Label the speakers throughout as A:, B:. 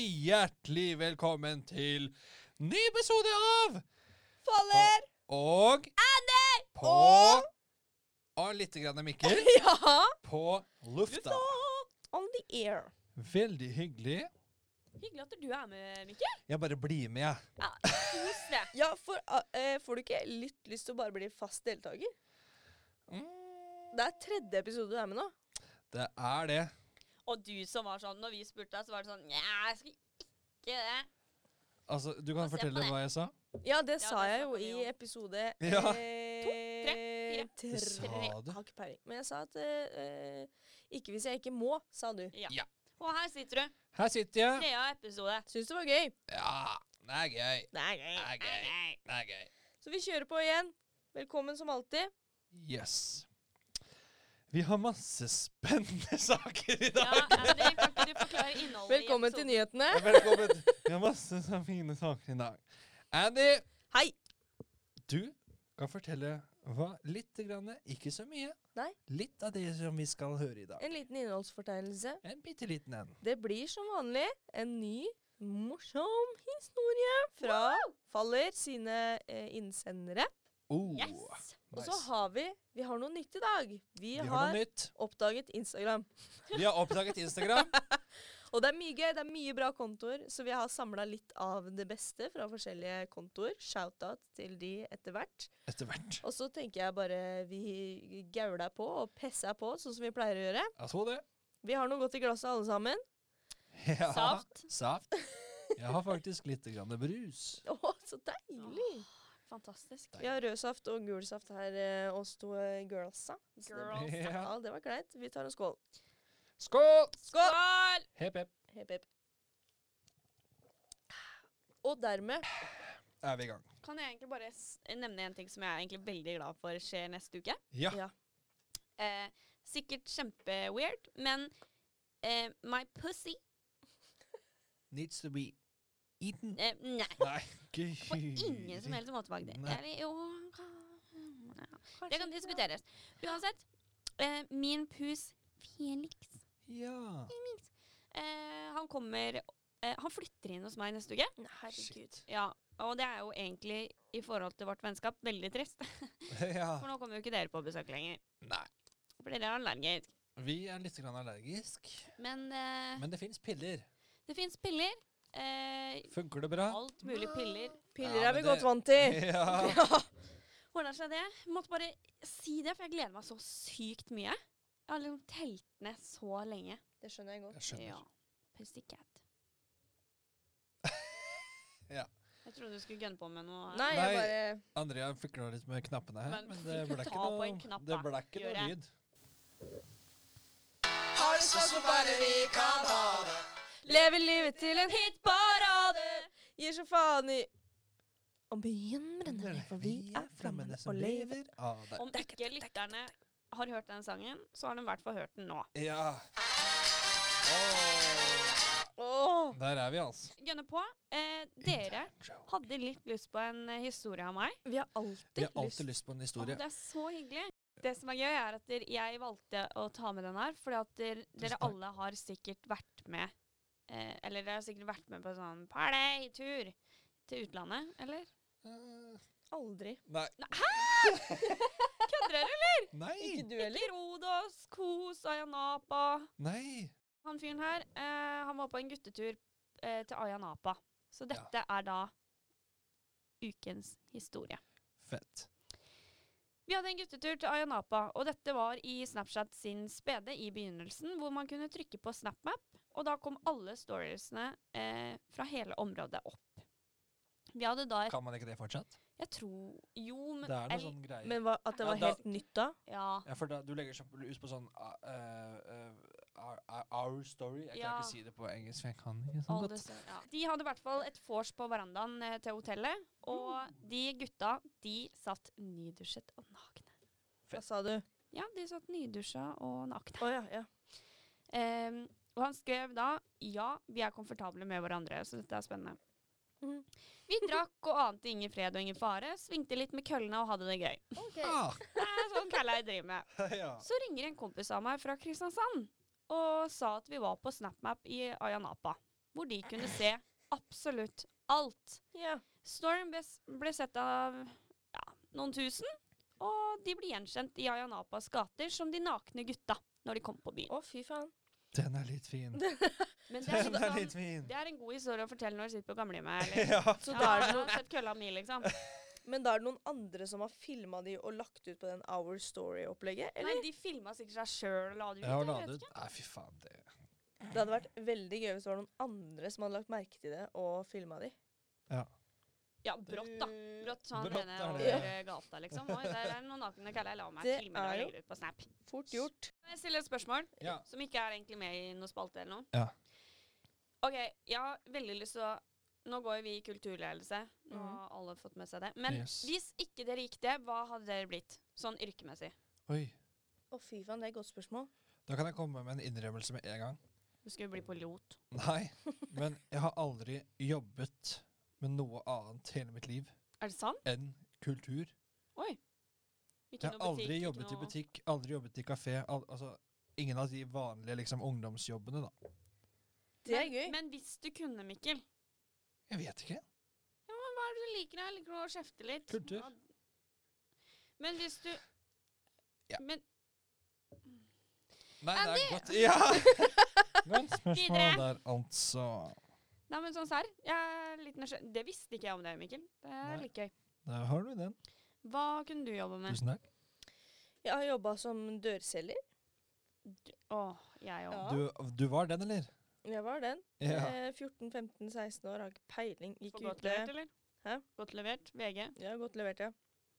A: hjertelig velkommen til ny episode av
B: Faller!
A: Og
B: Andy!
A: på
B: Og-
A: Og litt grann Mikkel
B: Ja!
A: på lufta.
B: On the air.
A: Veldig hyggelig.
C: Hyggelig at du er med, Mikkel.
A: Jeg bare blir med, jeg.
C: Ja, Kos deg.
B: Ja, for ah, eh, får du ikke litt lyst til å bare bli fast deltaker? Det er tredje episode du er med nå.
A: Det er det.
C: Og du som var sånn, når vi spurte deg, så var det sånn Nja, jeg skal ikke det.
A: Altså, du kan
C: Få se på
A: fortelle
C: det.
A: hva jeg sa?
B: Ja, det
C: Ja,
B: sa
C: det
B: jeg
C: snakket
B: jo
C: vi
B: i
C: om.
B: episode
A: Ja.
B: eh,
C: To,
A: Du
C: tre,
B: tre.
A: sa
B: Jeg
A: det.
B: har ikke peiling. Men jeg sa at eh, eh, Ikke hvis jeg ikke må, sa du.
C: Ja.
A: Ja.
C: Og her sitter du.
A: Her sitter jeg.
C: Tredje episode.
B: Syns det var gøy.
A: Ja, det er gøy.
B: Det er gøy.
A: Det er gøy.
C: Nei.
A: Det er gøy.
B: Så vi kjører på igjen. Velkommen som alltid.
A: Yes. Vi har masse spennende saker i
C: Ja,
A: dag.
C: Andy, kan ikke du forklare innholdet
B: Velkommen til nyhetene.
A: Velkommen. Vi har masse så fine saker i dag. Andy,
B: Hei!
A: du kan fortelle hva litt, grann, ikke så mye,
B: Nei.
A: litt av det som vi skal høre i dag.
B: En liten innholdsfortegnelse.
A: En bitte liten en.
B: Det blir som vanlig en ny morsom historie fra Faller sine eh, innsendere.
A: Oh,
C: Yes.
B: Og
A: nice.
B: så har vi Vi har noe nytt i dag. Vi,
A: Vi
B: har,
A: har noe nytt.
B: oppdaget Instagram.
A: Vi har oppdaget Instagram.
B: Og det er mye gøy. Det er mye bra kontoer, så vi har samla litt av det beste fra forskjellige kontoer. Shout-out til de etter hvert.
A: Etter hvert.
B: Og så tenker jeg bare vi gaula på og pessa på, sånn som vi pleier å gjøre.
A: Jeg så det.
B: Vi har noe godt i glasset alle sammen.
A: Ja.
C: Saft.
A: Saft. Jeg har faktisk litt grann brus.
B: Å, så deilig!
C: Fantastisk.
A: Deilig.
B: Vi har rød saft og gul saft her, eh, oss to eh, girlsa. Så det-
C: Girls.
A: Ja.
B: Ja, det var greit. Vi tar en skål.
A: Skål!
C: Skål!
A: Hepp, hepp.
B: Hepp, hepp. Og dermed
A: Er vi i gang.
C: Kan jeg egentlig bare s nevne en ting som jeg er egentlig veldig glad for skjer neste uke?
A: Ja.
B: Ja.
C: Eh, sikkert kjempeweird, men eh, my pussy
A: Needs to be eaten.
C: eh, Nei.
A: Nei, gud.
C: På ingen som helst måte, Magdi.
A: Nei.
C: Eller jo Det kan diskuteres. Uansett, eh, min pus Felix
A: Ja.
C: eh, Han kommer eh, Han flytter inn hos meg neste uke.
B: Herregud.
C: Ja, Og det er jo egentlig, i forhold til vårt vennskap, veldig trist.
A: ja.
C: For nå kommer jo ikke dere på besøk lenger.
A: Nei.
C: For dere er allergisk.
A: Vi er litt grann allergisk,
C: Men eh,
A: men det fins piller.
C: det fins piller. Eh,
A: Funker det bra?
C: alt mulig piller.
B: Piller
A: Ja,
B: er
A: men
B: vi
A: det-
B: godt vant til.
A: Ja.
C: Ordner seg det. Måtte bare si det, for jeg gleder meg så sykt mye. Jeg har liksom telt ned så lenge.
B: Det skjønner jeg godt.
A: Jeg skjønner.
C: Ja. Pussycat.
A: Ja.
C: Jeg trodde du skulle gønne på med noe.
B: Nei,
A: Nei.
B: jeg bare
A: Andrea fikla litt med knappene her,
C: Men
A: men det ble ikke
C: ta på en
A: noe,
C: knapp,
A: det
C: da.
A: ble ikke
C: Gjør
A: noe
C: det.
A: lyd.
B: Har det sånn som bare vi kan ha det. Lever livet til en hitparade. Gir så faen i Om byen brenner ned, for vi er flammene og lever.
A: av det.
C: Om ikke lytterne har hørt den sangen, så har de i hvert fall hørt den nå.
A: Ja. Åh.
B: Åh.
A: Der er vi, altså.
C: Gønne på. Eh, dere
A: Intern
C: hadde litt lyst på en eh, historie av meg.
B: Vi har
A: Vi
B: alltid
A: har alltid
B: lyst.
A: lyst på en
C: Og
A: historie.
C: det er så hyggelig. Det som er gøy, er at dere- jeg valgte å ta med den her, fordi at dere, dere
A: takk.
C: alle har sikkert vært med eh, Eller dere har sikkert vært med på en sånn partytur til utlandet, eller?
A: Eh,
B: Aldri.
A: Nei.
C: Kødder dere, eller?
A: Nei.
B: Ikke du heller?
C: Ikke Rodos, Kos, Ayanapa.
A: Nei.
C: Han fyren her, eh, han var på en guttetur eh, til Ayanapa. Så dette er da ukens historie.
A: Fett.
C: Vi hadde en guttetur til Ayanapa, og dette var i Snapchat sin spede i begynnelsen, hvor man kunne trykke på SnapMap, og da kom alle storiesene eh, fra hele området opp. Vi hadde da et
A: Kan man ikke det fortsatt?
C: Jeg tror Jo, men
A: Det er noe
C: el-
A: sånn greie.
B: Men hva, at det
A: Ja,
B: var
A: da-
B: helt nytt da?
C: Ja.
A: Ja, for da, du legger sånn ut på sånn uh, uh, our, our- our story. Jeg
C: Ja.
A: kan ikke si det på engelsk, for jeg kan ikke sånn
C: Alle
A: godt.
C: ser- Ja. De hadde i hvert fall et vors på verandaen eh, til hotellet, og de gutta, de satt nydusjet og nakne.
B: Hva sa du?
C: Ja, de satt nydusja og nakne.
B: Å ja, ja.
C: Ehm, og han skrev da Ja, vi er komfortable med hverandre, så dette er spennende.
B: Mhm.
C: Vi drakk og ante ingen fred og ingen fare, svingte litt med køllene og hadde det gøy.
A: Ah,
C: Det er sånn Kallei driver med.
A: ja.
C: Så ringer en kompis av meg fra Kristiansand og sa at vi var på SnapMap i Ayanapa, hvor de kunne se absolutt alt.
B: Ja.
C: Storm ble, s- ble sett av ja, noen tusen, og de ble gjenkjent i Ayanapas gater som de nakne gutta når de kom på byen.
B: Å, fy faen.
A: Den er litt fin.
C: Men det er,
A: Den er
C: litt
A: litt
C: sånn,
A: fin.
C: det er en god historie å fortelle når du sitter på gamlehjemmet. eller-
A: Ja.
B: Så
C: Ja,
B: da er det
C: har du sett kølla mi, liksom.
B: Men da er det noen andre som har filma de og lagt ut på den Our Story-opplegget? Eller?
C: Nei, de filma sikkert seg sjøl og la det ut.
A: Jeg har
C: jeg vet
A: ladet
C: ikke.
A: Nei, fy faen. Det.
B: Det hadde vært veldig gøy hvis det var noen andre som hadde lagt merke til det og filma de.
C: Ja, brått, da.
B: Mm.
C: Brått sånn
A: Brått
C: nede
A: er
C: over
A: det.
C: eh, gata, liksom. Oi, der er det noen nakne kaller. La meg
B: Det
C: filme det og
B: er jo-
C: legge det ut på Snap.
B: Fort gjort.
C: Kan Jeg stiller et spørsmål
A: Ja.
C: som ikke er egentlig med i noe spalte eller noe.
A: Ja.
C: OK, jeg har veldig lyst til å Nå går jo vi i kulturledelse. Nå
B: Mhm.
C: har alle fått med seg det. Men
A: Yes.
C: hvis ikke dere gikk det, hva hadde dere blitt? Sånn yrkemessig.
A: Oi.
B: Å, fy faen, det er et godt spørsmål.
A: Da kan jeg komme med en innrømmelse med en gang.
C: Du skulle bli pilot.
A: Nei, men jeg har aldri jobbet med noe annet hele mitt liv
C: Er det sant?
A: enn kultur.
C: Oi.
A: Jeg
C: Ikke
A: har
C: noe butikk,
A: aldri
C: ikke
A: jobbet i
C: noe-
A: butikk, aldri jobbet i kafé. Al altså, ingen av de vanlige liksom, ungdomsjobbene, da.
B: Det er
C: Men-
B: gøy.
C: Men hvis du kunne, Mikkel
A: Jeg vet ikke.
C: Hva er det du liker? Jeg liker du å kjefte litt.
A: Kultur.
C: Ja. Men hvis du
A: Ja.
C: Men
A: Nei, det er godt. Ja! Godt spørsmål
C: Videre.
A: der, altså.
C: Nei, men sånn serr, jeg er litt nysgjerrig. Det visste ikke jeg om deg, Mikkel. Det
A: Nei.
C: er litt gøy.
A: Der har du den.
C: Hva kunne du jobbe med?
A: Tusen takk.
B: Jeg har jobba som dørselger.
C: Å, jeg òg.
B: Ja.
A: Du, du var den, eller?
B: Jeg var den.
A: Ja.
B: Eh, 14-15-16 år, har ikke peiling. Gikk
C: På godt
B: ute.
C: levert, eller?
B: Hæ?
C: Godt levert. VG.
B: Jeg har godt levert, ja.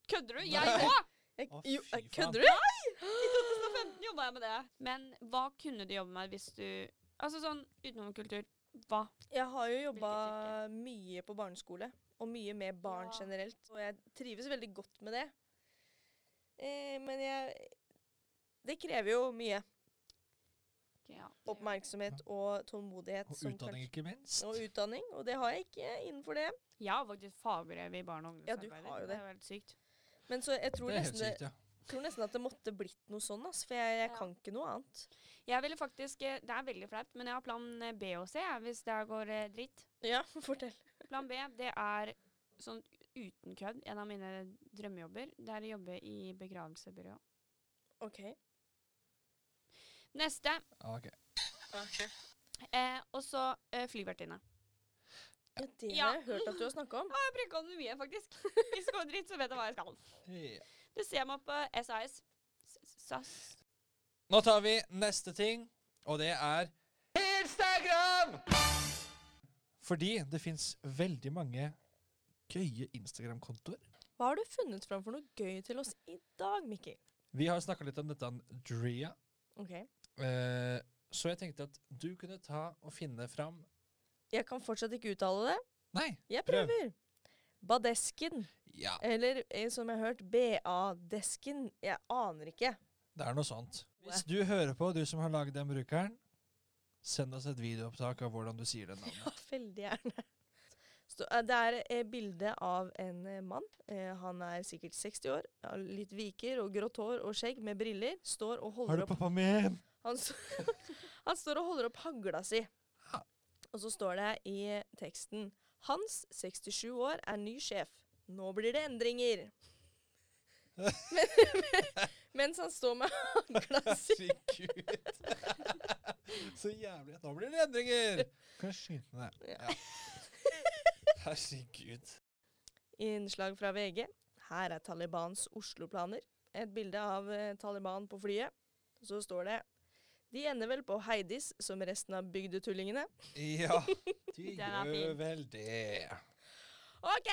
C: Kødder du?
A: Nei.
C: Jeg òg!
B: Jeg,
A: Å,
B: jo,
A: fy
B: eh,
A: faen.
B: kødder du?
C: 2015 jobba jeg med det. Men hva kunne du jobbe med hvis du Altså sånn utenom kultur. Hva?
B: Jeg har jo jobba
C: Hvilket
B: mye på barneskole, og mye med barn
C: Ja.
B: generelt. Og jeg trives veldig godt med det. Eh, men jeg Det krever jo mye
C: Ok, ja.
B: oppmerksomhet og tålmodighet.
A: Og
B: som
A: utdanning, ikke minst.
B: kanskje- Og utdanning, og det har jeg ikke innenfor det.
C: Jeg har faktisk fagbrev i barne- og
B: Ja, du
C: ungdomsarbeider.
B: har jo det.
C: er jo helt sykt.
B: Men så jeg tror,
A: det er helt
B: nesten, det,
A: sykt, ja.
B: tror nesten at det måtte blitt noe sånn, ass, for jeg, jeg
C: Ja.
B: kan ikke noe annet.
C: Jeg ville faktisk eh, Det er veldig flaut, men jeg har plan eh, B og C jeg, hvis det går eh, dritt.
B: Ja, fortell.
C: Plan B, det er sånn uten kødd en av mine drømmejobber. Det er å jobbe i begravelsebyrå.
B: OK.
C: Neste.
A: Ah, ok.
C: Eh, og så eh, flyvertinne.
B: Ja, det
C: Ja.
B: har jeg hørt at du har snakka om.
C: Jeg bruker den mye, faktisk. Hvis det går dritt, så vet jeg hva jeg skal.
A: Ja.
C: Du ser meg på SAS. SAS.
A: Nå tar vi neste ting, og det er Instagram! Fordi det fins veldig mange gøye Instagram-kontoer.
B: Hva har du funnet fram for noe gøy til oss i dag, Mikkel?
A: Vi har snakka litt om dette, Andrea.
B: OK.
A: Eh, så jeg tenkte at du kunne ta og finne fram
B: Jeg kan fortsatt ikke uttale det.
A: Nei!
B: Jeg
A: Prøv.
B: prøver. Badesken,
A: Ja,
B: eller eh, som jeg har hørt, BA-desken. Jeg aner ikke.
A: det er noe sånt. Hvis du hører på, du som har lagd den brukeren, send oss et videoopptak av hvordan du sier det navnet.
B: Ja, veldig gjerne. Så, eh, det er et bilde av en eh, mann. Eh, han er sikkert 60 år. har Litt viker og grått hår og skjegg med briller. Står og
A: Har du
B: holder opp
A: pappa min?
B: han, s- han står og holder opp hagla si.
A: Ja.
B: Og så står det i teksten Hans, 67 år, er ny sjef. Nå blir det endringer. Men, mens han står med hagla si.
A: Herregud. Så jævlig. Nå blir det endringer! Kan jeg skyte deg?
B: Ja.
A: Ja. Herregud.
B: Innslag fra VG. Her er Talibans Oslo-planer. Et bilde av eh, Taliban på flyet. Så står det De ender vel på Heidis, som resten av bygdetullingene.
A: Ja, de
C: Den er
A: gjør
C: fin.
A: vel det.
B: OK!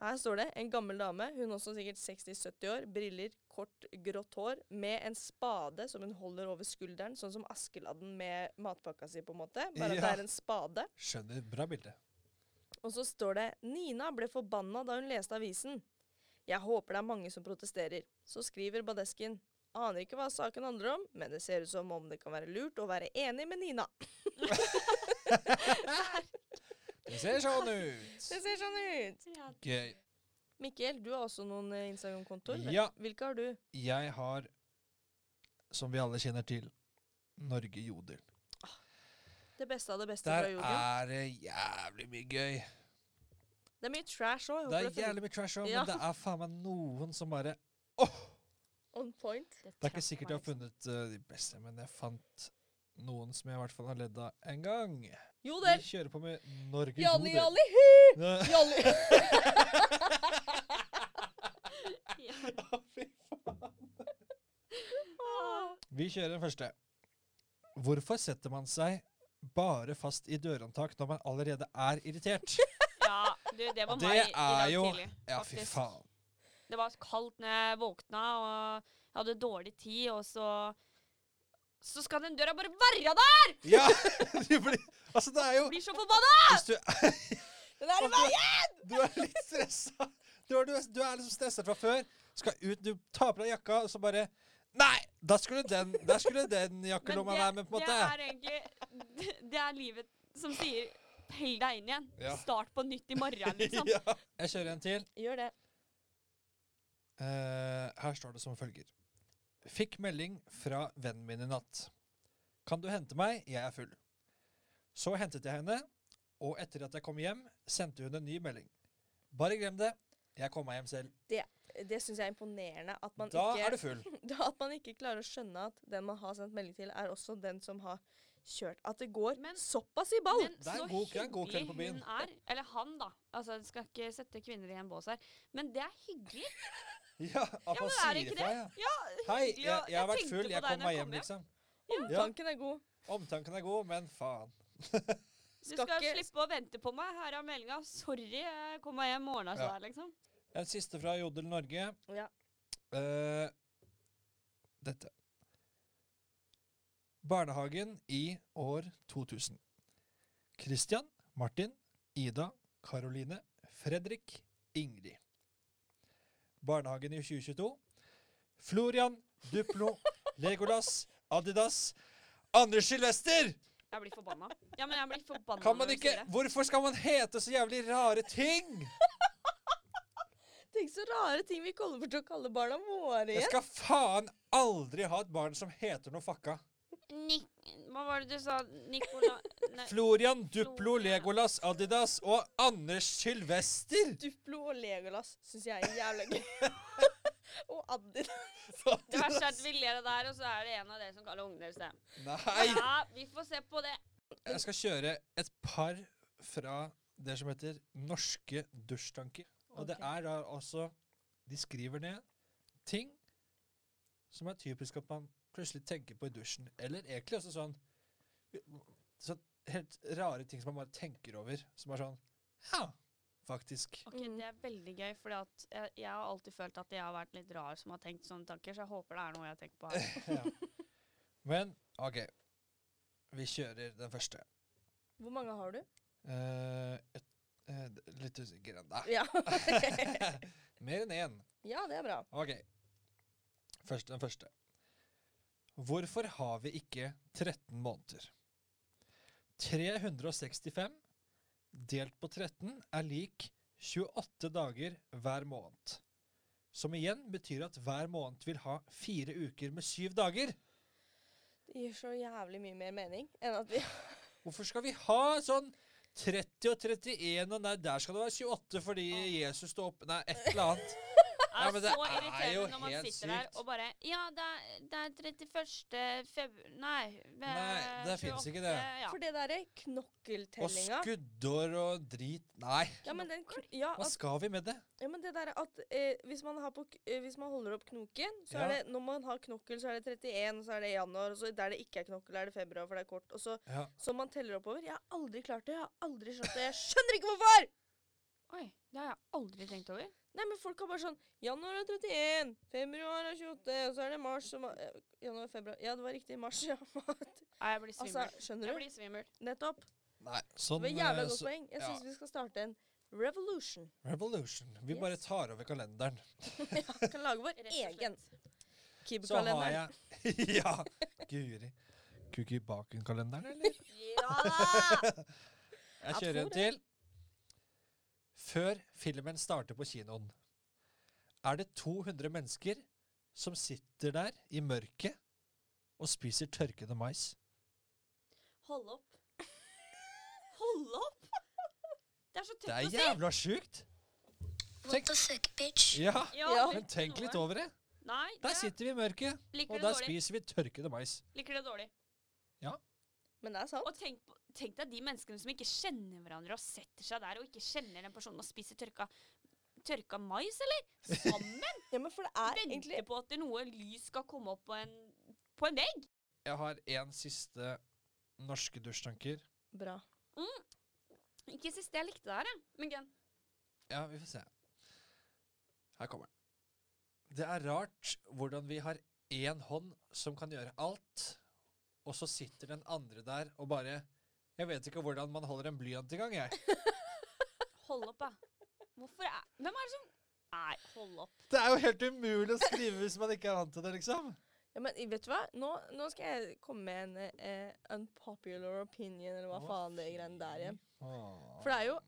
B: Her står det en gammel dame, hun også sikkert 60-70 år, briller, kort, grått hår, med en spade som hun holder over skulderen, sånn som Askeladden med matpakka si, på en måte. Bare at det
A: Ja.
B: er en spade.
A: Skjønner. Bra bilde.
B: Og så står det Nina ble forbanna da hun leste avisen. Jeg håper det er mange som protesterer. Så skriver Badesken. Aner ikke hva saken handler om, men det ser ut som om det kan være lurt å være enig med Nina.
A: Det ser sånn ut.
B: Det ser sånn ut!
A: Gøy.
B: Mikkel, du har også noen eh, Instagram-kontoer. Hvil-
A: Ja.
B: Hvilke har du?
A: Jeg har, som vi alle kjenner til, Norge Jodel.
B: Det beste av det beste
A: Der
B: fra jorden.
A: er det jævlig mye gøy.
B: Det er mye trash òg.
A: Det er jævlig mye trash òg,
B: Ja.
A: men det er faen meg noen som bare
B: sånn On point.
A: Det er ikke sikkert jeg har funnet eh, de beste, men jeg fant noen som jeg i hvert fall har ledd av en gang. Vi
B: Jodel!
A: kjører på med Norge
B: Jalli,
A: Jodel.
B: jalli!
A: Nå-
B: Jalli!
C: funnet
A: Vi kjører den første. Hvorfor setter man seg bare fast i dørhåndtak når man allerede er irritert?
C: Ja, du, det var
A: Det
C: meg i i
A: er
C: dag
A: jo-
C: tidlig.
A: Ja, fy
C: faktisk.
A: faen.
C: Det var kaldt når jeg våkna, og jeg hadde dårlig tid, og så Så skal den døra bare være der!
A: Ja! Du blir, altså, det er jo
C: Jeg blir så forbanna!
A: Hvis du,
B: Den er i
A: du, du er litt stressa. Du er, du er, du er liksom stressa fra før. Skal ut, du tar på deg jakka, og så bare Nei! Da skulle den, der skulle den jakkelomma være med, på en
C: det
A: måte.
C: er egentlig Det er livet som sier Pell deg inn igjen.
A: Ja.
C: Start på nytt i morgen, liksom.
A: Ja. Jeg kjører en til.
B: Gjør det.
A: Eh, her står det som følger. Fikk melding fra vennen min i natt. Kan du hente meg? Jeg er full. Så hentet jeg henne, og etter at jeg kom hjem, sendte hun en ny melding. Bare glem det. Jeg kom meg hjem selv.
B: Det syns jeg er imponerende. At man,
A: Da
B: ikke,
A: er du full.
B: da at man ikke klarer å skjønne at den man har sendt melding til, er også den som har kjørt. At det går
C: Men-
B: såpass i ball!
C: Men
A: Det er
C: så
A: en god- det er en god kveld på
C: hyggelig
A: byen.
C: Hun er, eller han, da. Altså, jeg skal ikke sette kvinner i en bås her. Men det er hyggelig.
A: Ja, at
C: men
A: man
C: er det
A: sier
C: ikke
A: ifra, ja. Hei, jeg,
C: hyggelig, og
A: jeg
C: jeg
A: har vært
C: tenkte på
A: full. Jeg
C: deg
A: kom
C: når
A: meg
C: jeg kom
A: hjem,
C: hjem.
A: liksom. Ja.
B: Omtanken er god.
A: Omtanken er god, men faen.
C: Du
B: Skal
C: skal
B: ikke-
C: slippe å vente på meg. Her er meldinga. Sorry, jeg kom meg hjem og ordna seg,
A: Ja.
C: liksom.
A: En siste fra Jodel Norge.
B: Ja.
A: Eh, dette. Barnehagen i år 2000. Christian, Martin, Ida, Karoline, Fredrik, Ingrid. Barnehagen i 2022. Florian, Duplo, Legolas, Adidas, Anders Sylvester!
C: Jeg blir forbanna. Ja, men jeg blir forbanna
A: Kan man
C: når hun
A: ikke
C: sier det.
A: Hvorfor skal man hete så jævlig rare ting?!
B: Tenk så rare ting vi kommer til å kalle barna våre
A: Jeg
B: igjen.
A: skal faen aldri ha et barn som heter noe fucka.
C: Nik... Hva var det du sa? Nicola... Nei.
A: Florian, Duplo,
C: Florian.
A: Legolas, Adidas og Anders Sylvester.
B: Duplo og Legolas syns jeg er jævla gøy. og Addi.
C: Det verste er at vi ler av det her, og så er det en av dere som kaller ungen deres det.
A: Nei!
C: Ja, vi får se på det.
A: Jeg skal kjøre et par fra det som heter Norske dusjtanker. Og det
B: Ok.
A: er da altså De skriver ned ting som er typisk at man plutselig tenker på i dusjen. Eller egentlig også sånn så Helt rare ting som man bare tenker over. Som er sånn Ja, faktisk.
C: Ok, Det er veldig gøy, for jeg, jeg har alltid følt at jeg har vært litt rar som har tenkt sånne tanker, så jeg håper det er noe jeg har tenkt på her.
A: Ja. Men OK. Vi kjører den første.
B: Hvor mange har du?
A: Eh, et, eh, d- litt usikker ennå.
B: Ja.
A: Mer enn én.
B: ja, det er bra.
A: OK. Først, den første. Hvorfor har vi ikke 13 måneder? 365 delt på 13 er lik 28 dager hver måned. Som igjen betyr at hver måned vil ha fire uker med syv dager.
B: Det gir så jævlig mye mer mening enn at vi
A: Hvorfor skal vi ha sånn 30 og 31, og nei, der skal det være 28 fordi Jesus står opp Nei, et eller annet.
C: Det
A: Ja,
C: er
A: men det
C: så
A: er jo
C: irriterende når man
A: helt
C: sitter der
A: sykt.
C: og bare Ja, det er, det er 31. februar Nei.
A: Nei, det finnes ikke det.
C: Ja.
B: For det derre
A: Og
B: knokkeltellinga
A: skuddår og drit Nei,
B: ja, men den, kn- ja,
A: hva
B: at,
A: skal vi med det?
B: ja, men det derre at eh, hvis, man har på, k- eh, hvis man holder opp knoken, så er
A: Ja.
B: det Når man har knokkel, så er det 31, og så er det januar, og så der det ikke er knokkel, er det februar, for det er kort. Og så
A: Ja.
B: Som man teller oppover. Jeg har aldri klart det. Jeg har aldri skjønt det. Jeg skjønner ikke hvorfor!
C: Oi, det har jeg aldri tenkt over.
B: Nei, men folk har bare sånn Januar er 31, februar er 28, og så er det mars som er eh, Januar, februar Ja, det var riktig. Mars, ja.
C: Nei, jeg blir
B: altså,
C: svimmel.
B: skjønner
C: Jeg
B: du?
C: blir svimmel.
B: Nettopp.
A: Nei, sånn
B: Det var jævla
A: eh,
B: godt
A: så-
B: poeng. Jeg
A: ja.
B: syns vi skal starte en revolution.
A: Revolution. Vi bare
B: Yes.
A: tar over kalenderen.
B: Vi kan lage vår
C: Rett og slett.
B: egen
A: Så har
B: Kibbe-kalender.
A: jeg Ja, guri. Kuki Baken-kalenderen, eller?
C: Ja da!
A: Jeg
B: Jeg
A: kjører
B: tror
A: en til. Før filmen starter på kinoen, er det 200 mennesker som sitter der i mørket og spiser tørkede mais.
C: Hold opp. alle opp! Det er så
A: Det
C: tøft
A: er
C: å si.
A: jævla sjukt!
D: What the fuck, bitch?
A: Ja,
B: Ja.
C: tenk
A: men tenk
C: noe.
A: litt over det.
C: Nei,
A: Der
C: det
A: sitter vi i mørket,
C: liker
A: og
C: det
A: der
C: dårlig.
A: spiser vi tørkede mais.
C: Liker det dårlig.
B: Men det er sant.
C: Og tenk, på- tenk deg de menneskene som ikke kjenner hverandre og setter seg der og ikke kjenner den personen og spiser tørka, tørka mais, eller? Sammen?
B: Ja, men for det er egentlig
C: Venter på at det noe lys skal komme opp på en, på en vegg?
A: Jeg har en siste norske dusjtanker.
B: bra.
C: Ikke siste jeg likte det her, jeg. men gønn.
A: Ja, vi får se. Her kommer den. Det er rart hvordan vi har én hånd som kan gjøre alt, og så sitter den andre der og bare Jeg vet ikke hvordan man holder en blyant i gang, jeg.
C: Hold opp, da. Hvorfor er Hvem er det som Nei, hold opp.
A: Det er jo helt umulig å skrive hvis man ikke er vant til det, liksom.
B: Ja, men vet du hva? Nå, nå skal jeg komme med en eh, unpopular opinion, eller hva
A: Å,
B: faen det greiene der igjen.
A: Åh.
B: For det er jo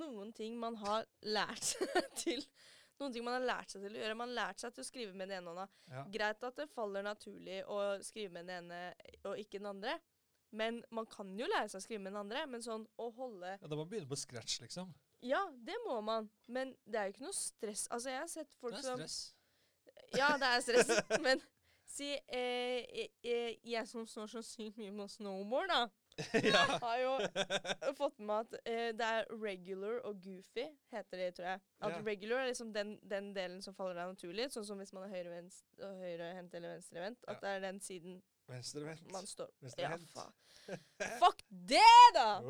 B: noen ting man har lært seg til noen ting man har lært seg til å gjøre. Man har lært seg til å skrive med den ene hånda.
A: Ja.
B: Greit at det faller naturlig å skrive med den ene og ikke den andre. Men man kan jo lære seg å skrive med den andre. Men sånn å holde
A: Ja, da må man begynne på scratch, liksom.
B: Ja, det må man. Men det er jo ikke noe stress. Altså, jeg har sett folk
A: Det er
B: som
A: stress.
B: Ja, det er stress. men si eh, jeg, jeg, jeg som står så sykt mye på snowboard, da.
A: ja.
B: har jo fått med meg at eh, det er regular og goofy, heter det, tror jeg. At
A: Ja.
B: regular er liksom den, den delen som faller deg naturlig, sånn som hvis man er høyrehendt høyre eller venstrehendt. At det er den siden
A: Venstrevendt.
B: man står Ja,
A: Venstrehendt.
B: faen. Fuck det, da!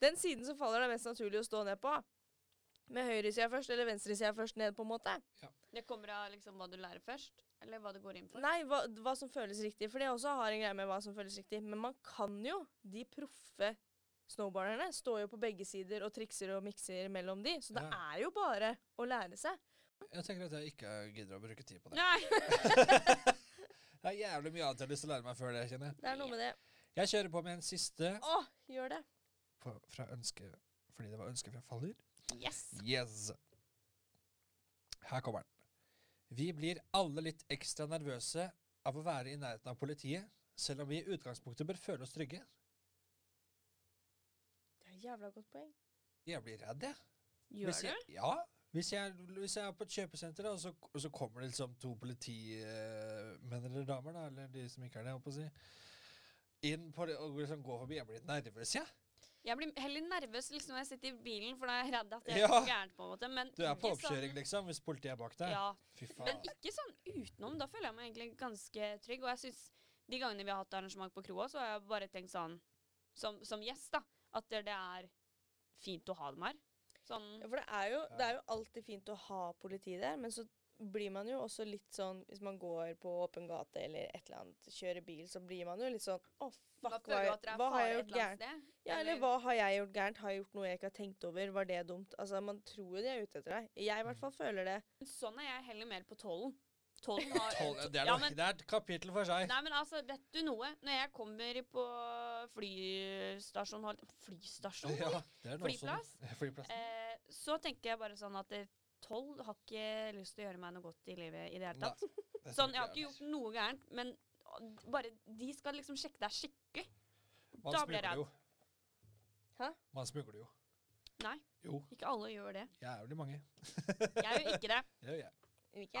B: Den siden som faller deg mest naturlig å stå ned på. Med høyresida først, eller venstresida først ned, på en måte.
C: Det kommer av liksom hva du lærer først, eller hva du går inn for.
B: Nei, hva, hva som føles riktig. For det også har en greie med hva som føles riktig. Men man kan jo De proffe snowboarderne står jo på begge sider og trikser og mikser mellom de. Så det
A: Ja.
B: er jo bare å lære seg.
A: Jeg tenker at jeg ikke gidder å bruke tid på det.
C: Nei.
A: Det er jævlig mye annet jeg har lyst til å lære meg før det, kjenner jeg.
B: Det er noe med det.
A: Jeg kjører på med en siste
B: Å, gjør det.
A: på, fra ønske, fordi det var ønske fra Faller.
C: Yes.
A: Yes. Her kommer den. Vi blir alle litt ekstra nervøse av å være i nærheten av politiet, selv om vi i utgangspunktet bør føle oss trygge.
B: Det er et jævla godt poeng.
A: Jeg blir redd, jeg.
C: Gjør
A: Hvis
C: du?
A: jeg, ja. Hvis jeg, hvis jeg er på et kjøpesenter, da, og så, og så kommer det liksom to politimenn eller damer, da, eller de som ikke er det, holdt på å si, inn på det, og liksom går forbi, jeg blir nervøs, jeg.
C: Jeg blir heller nervøs liksom når jeg sitter i bilen, for da er jeg redd at jeg
A: Ja.
C: er noe gærent. på en måte. Men
A: Du er på
C: ikke
A: oppkjøring, liksom, hvis politiet er bak
C: Sånn,
A: deg.
C: ja,
A: Fy
C: Men
A: faen.
C: ikke sånn utenom. Da føler jeg meg egentlig ganske trygg. Og jeg synes de gangene vi har hatt arrangement på kroa, så har jeg bare tenkt sånn som, som gjest, da. At det, det er fint å ha dem her. Sånn
B: Ja, for det er, jo, det er jo alltid fint å ha politi der, men så blir man jo også litt sånn Hvis man går på åpen gate eller et eller annet, kjører bil, så blir man jo litt sånn Å,
C: Da
B: fuck, hva,
C: føler du at det er
B: hva har
C: fare
B: jeg
C: et
B: gjort
C: eller
B: gærent?
C: annet sted.
B: Ja, eller hva har jeg gjort gærent? Har jeg gjort noe jeg ikke har tenkt over? Var det dumt? Altså, Man tror jo de er ute etter deg. Jeg i hvert fall føler det.
C: Men Sånn er jeg heller mer på tollen. Tollen har
A: Tolv- Det er,
C: ja,
A: noe-
C: men,
A: det er et kapittel for seg.
C: Nei, men altså, vet du noe? Når jeg kommer på flystasjon holdt- Flystasjon?
A: Ja, det er noe som- Flyplass.
C: Eh, så tenker jeg bare sånn at eh, tolv har ikke lyst til å gjøre meg noe godt i livet i det hele
A: Nei,
C: tatt.
A: det tror
C: Sånn, Jeg har ikke
A: heller.
C: gjort noe gærent, men å, bare de skal liksom sjekke deg skikkelig.
A: Man
C: da blir
A: smugler
C: jeg
A: jo.
B: Hæ?
A: Man smugler jo.
C: Nei,
A: Jo,
C: ikke alle gjør det.
A: jævlig mange.
C: Jeg gjør ikke det.
A: Det gjør jeg.
B: Ikke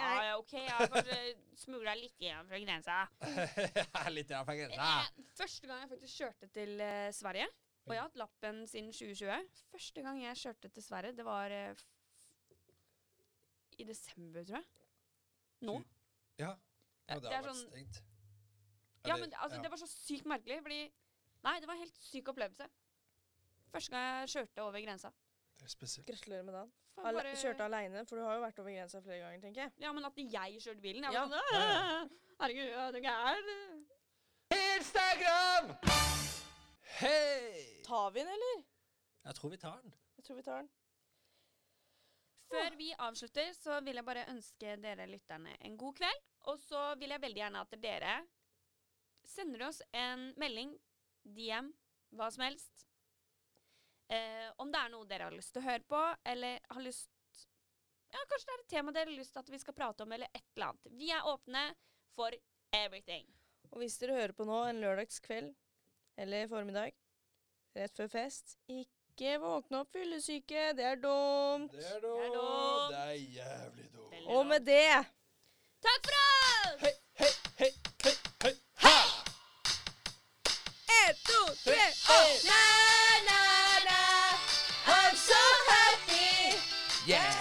C: Ja,
B: jeg.
C: ja, OK, jeg har kanskje smugla litt igjen fra grensa.
A: Jeg er Litt altså. av grensa.
C: Eh, Første gang jeg faktisk kjørte til eh, Sverige, og jeg har hatt lappen siden 2020 Første gang jeg kjørte til Sverige, det var eh, f- i desember, tror jeg. Nå.
A: Ja.
C: Eh,
A: ja det
C: det
A: har
C: er
A: vært
C: sånn-
A: stengt.
C: Ja,
A: Eller-
C: men altså,
A: ja.
C: det var så sykt merkelig, fordi Nei, det var en helt syk opplevelse. Første gang jeg kjørte over grensa.
A: Det er spesielt.
B: Gratulerer med dagen.
C: Faen,
B: Alle
C: bare-
B: Kjørte aleine, for du har jo vært over grensa flere ganger, tenker jeg.
C: Ja, men at jeg kjørte bilen. Jeg
B: Ja.
C: var sånn, «Åh, Herregud, er du gæren?
A: Instagram! Hei!
B: Tar vi den, eller?
A: Jeg tror vi tar den.
B: Jeg tror vi tar den.
C: Før vi avslutter, så vil jeg bare ønske dere lytterne en god kveld. Og så vil jeg veldig gjerne at dere sender oss en melding, DM, hva som helst. Eh, om det er noe dere har lyst til å høre på, eller har lyst Ja, kanskje det er et tema dere har lyst til at vi skal prate om, eller et eller annet. Vi er åpne for everything.
B: Og hvis dere hører på nå en lørdagskveld eller formiddag, Rett før fest. Ikke våkne opp fyllesyke, det er dumt.
A: Det er
C: Det er
A: dumt.
C: dumt.
A: Det er jævlig dumt.
C: Veldig
B: Og med det
C: Takk for oss!
A: Hei, hei, hei, hei, hei. Ha!
B: En, to, tre, og
C: Na, na, na.
B: I'm so happy!
A: Yeah!
C: Eh!
A: Uh.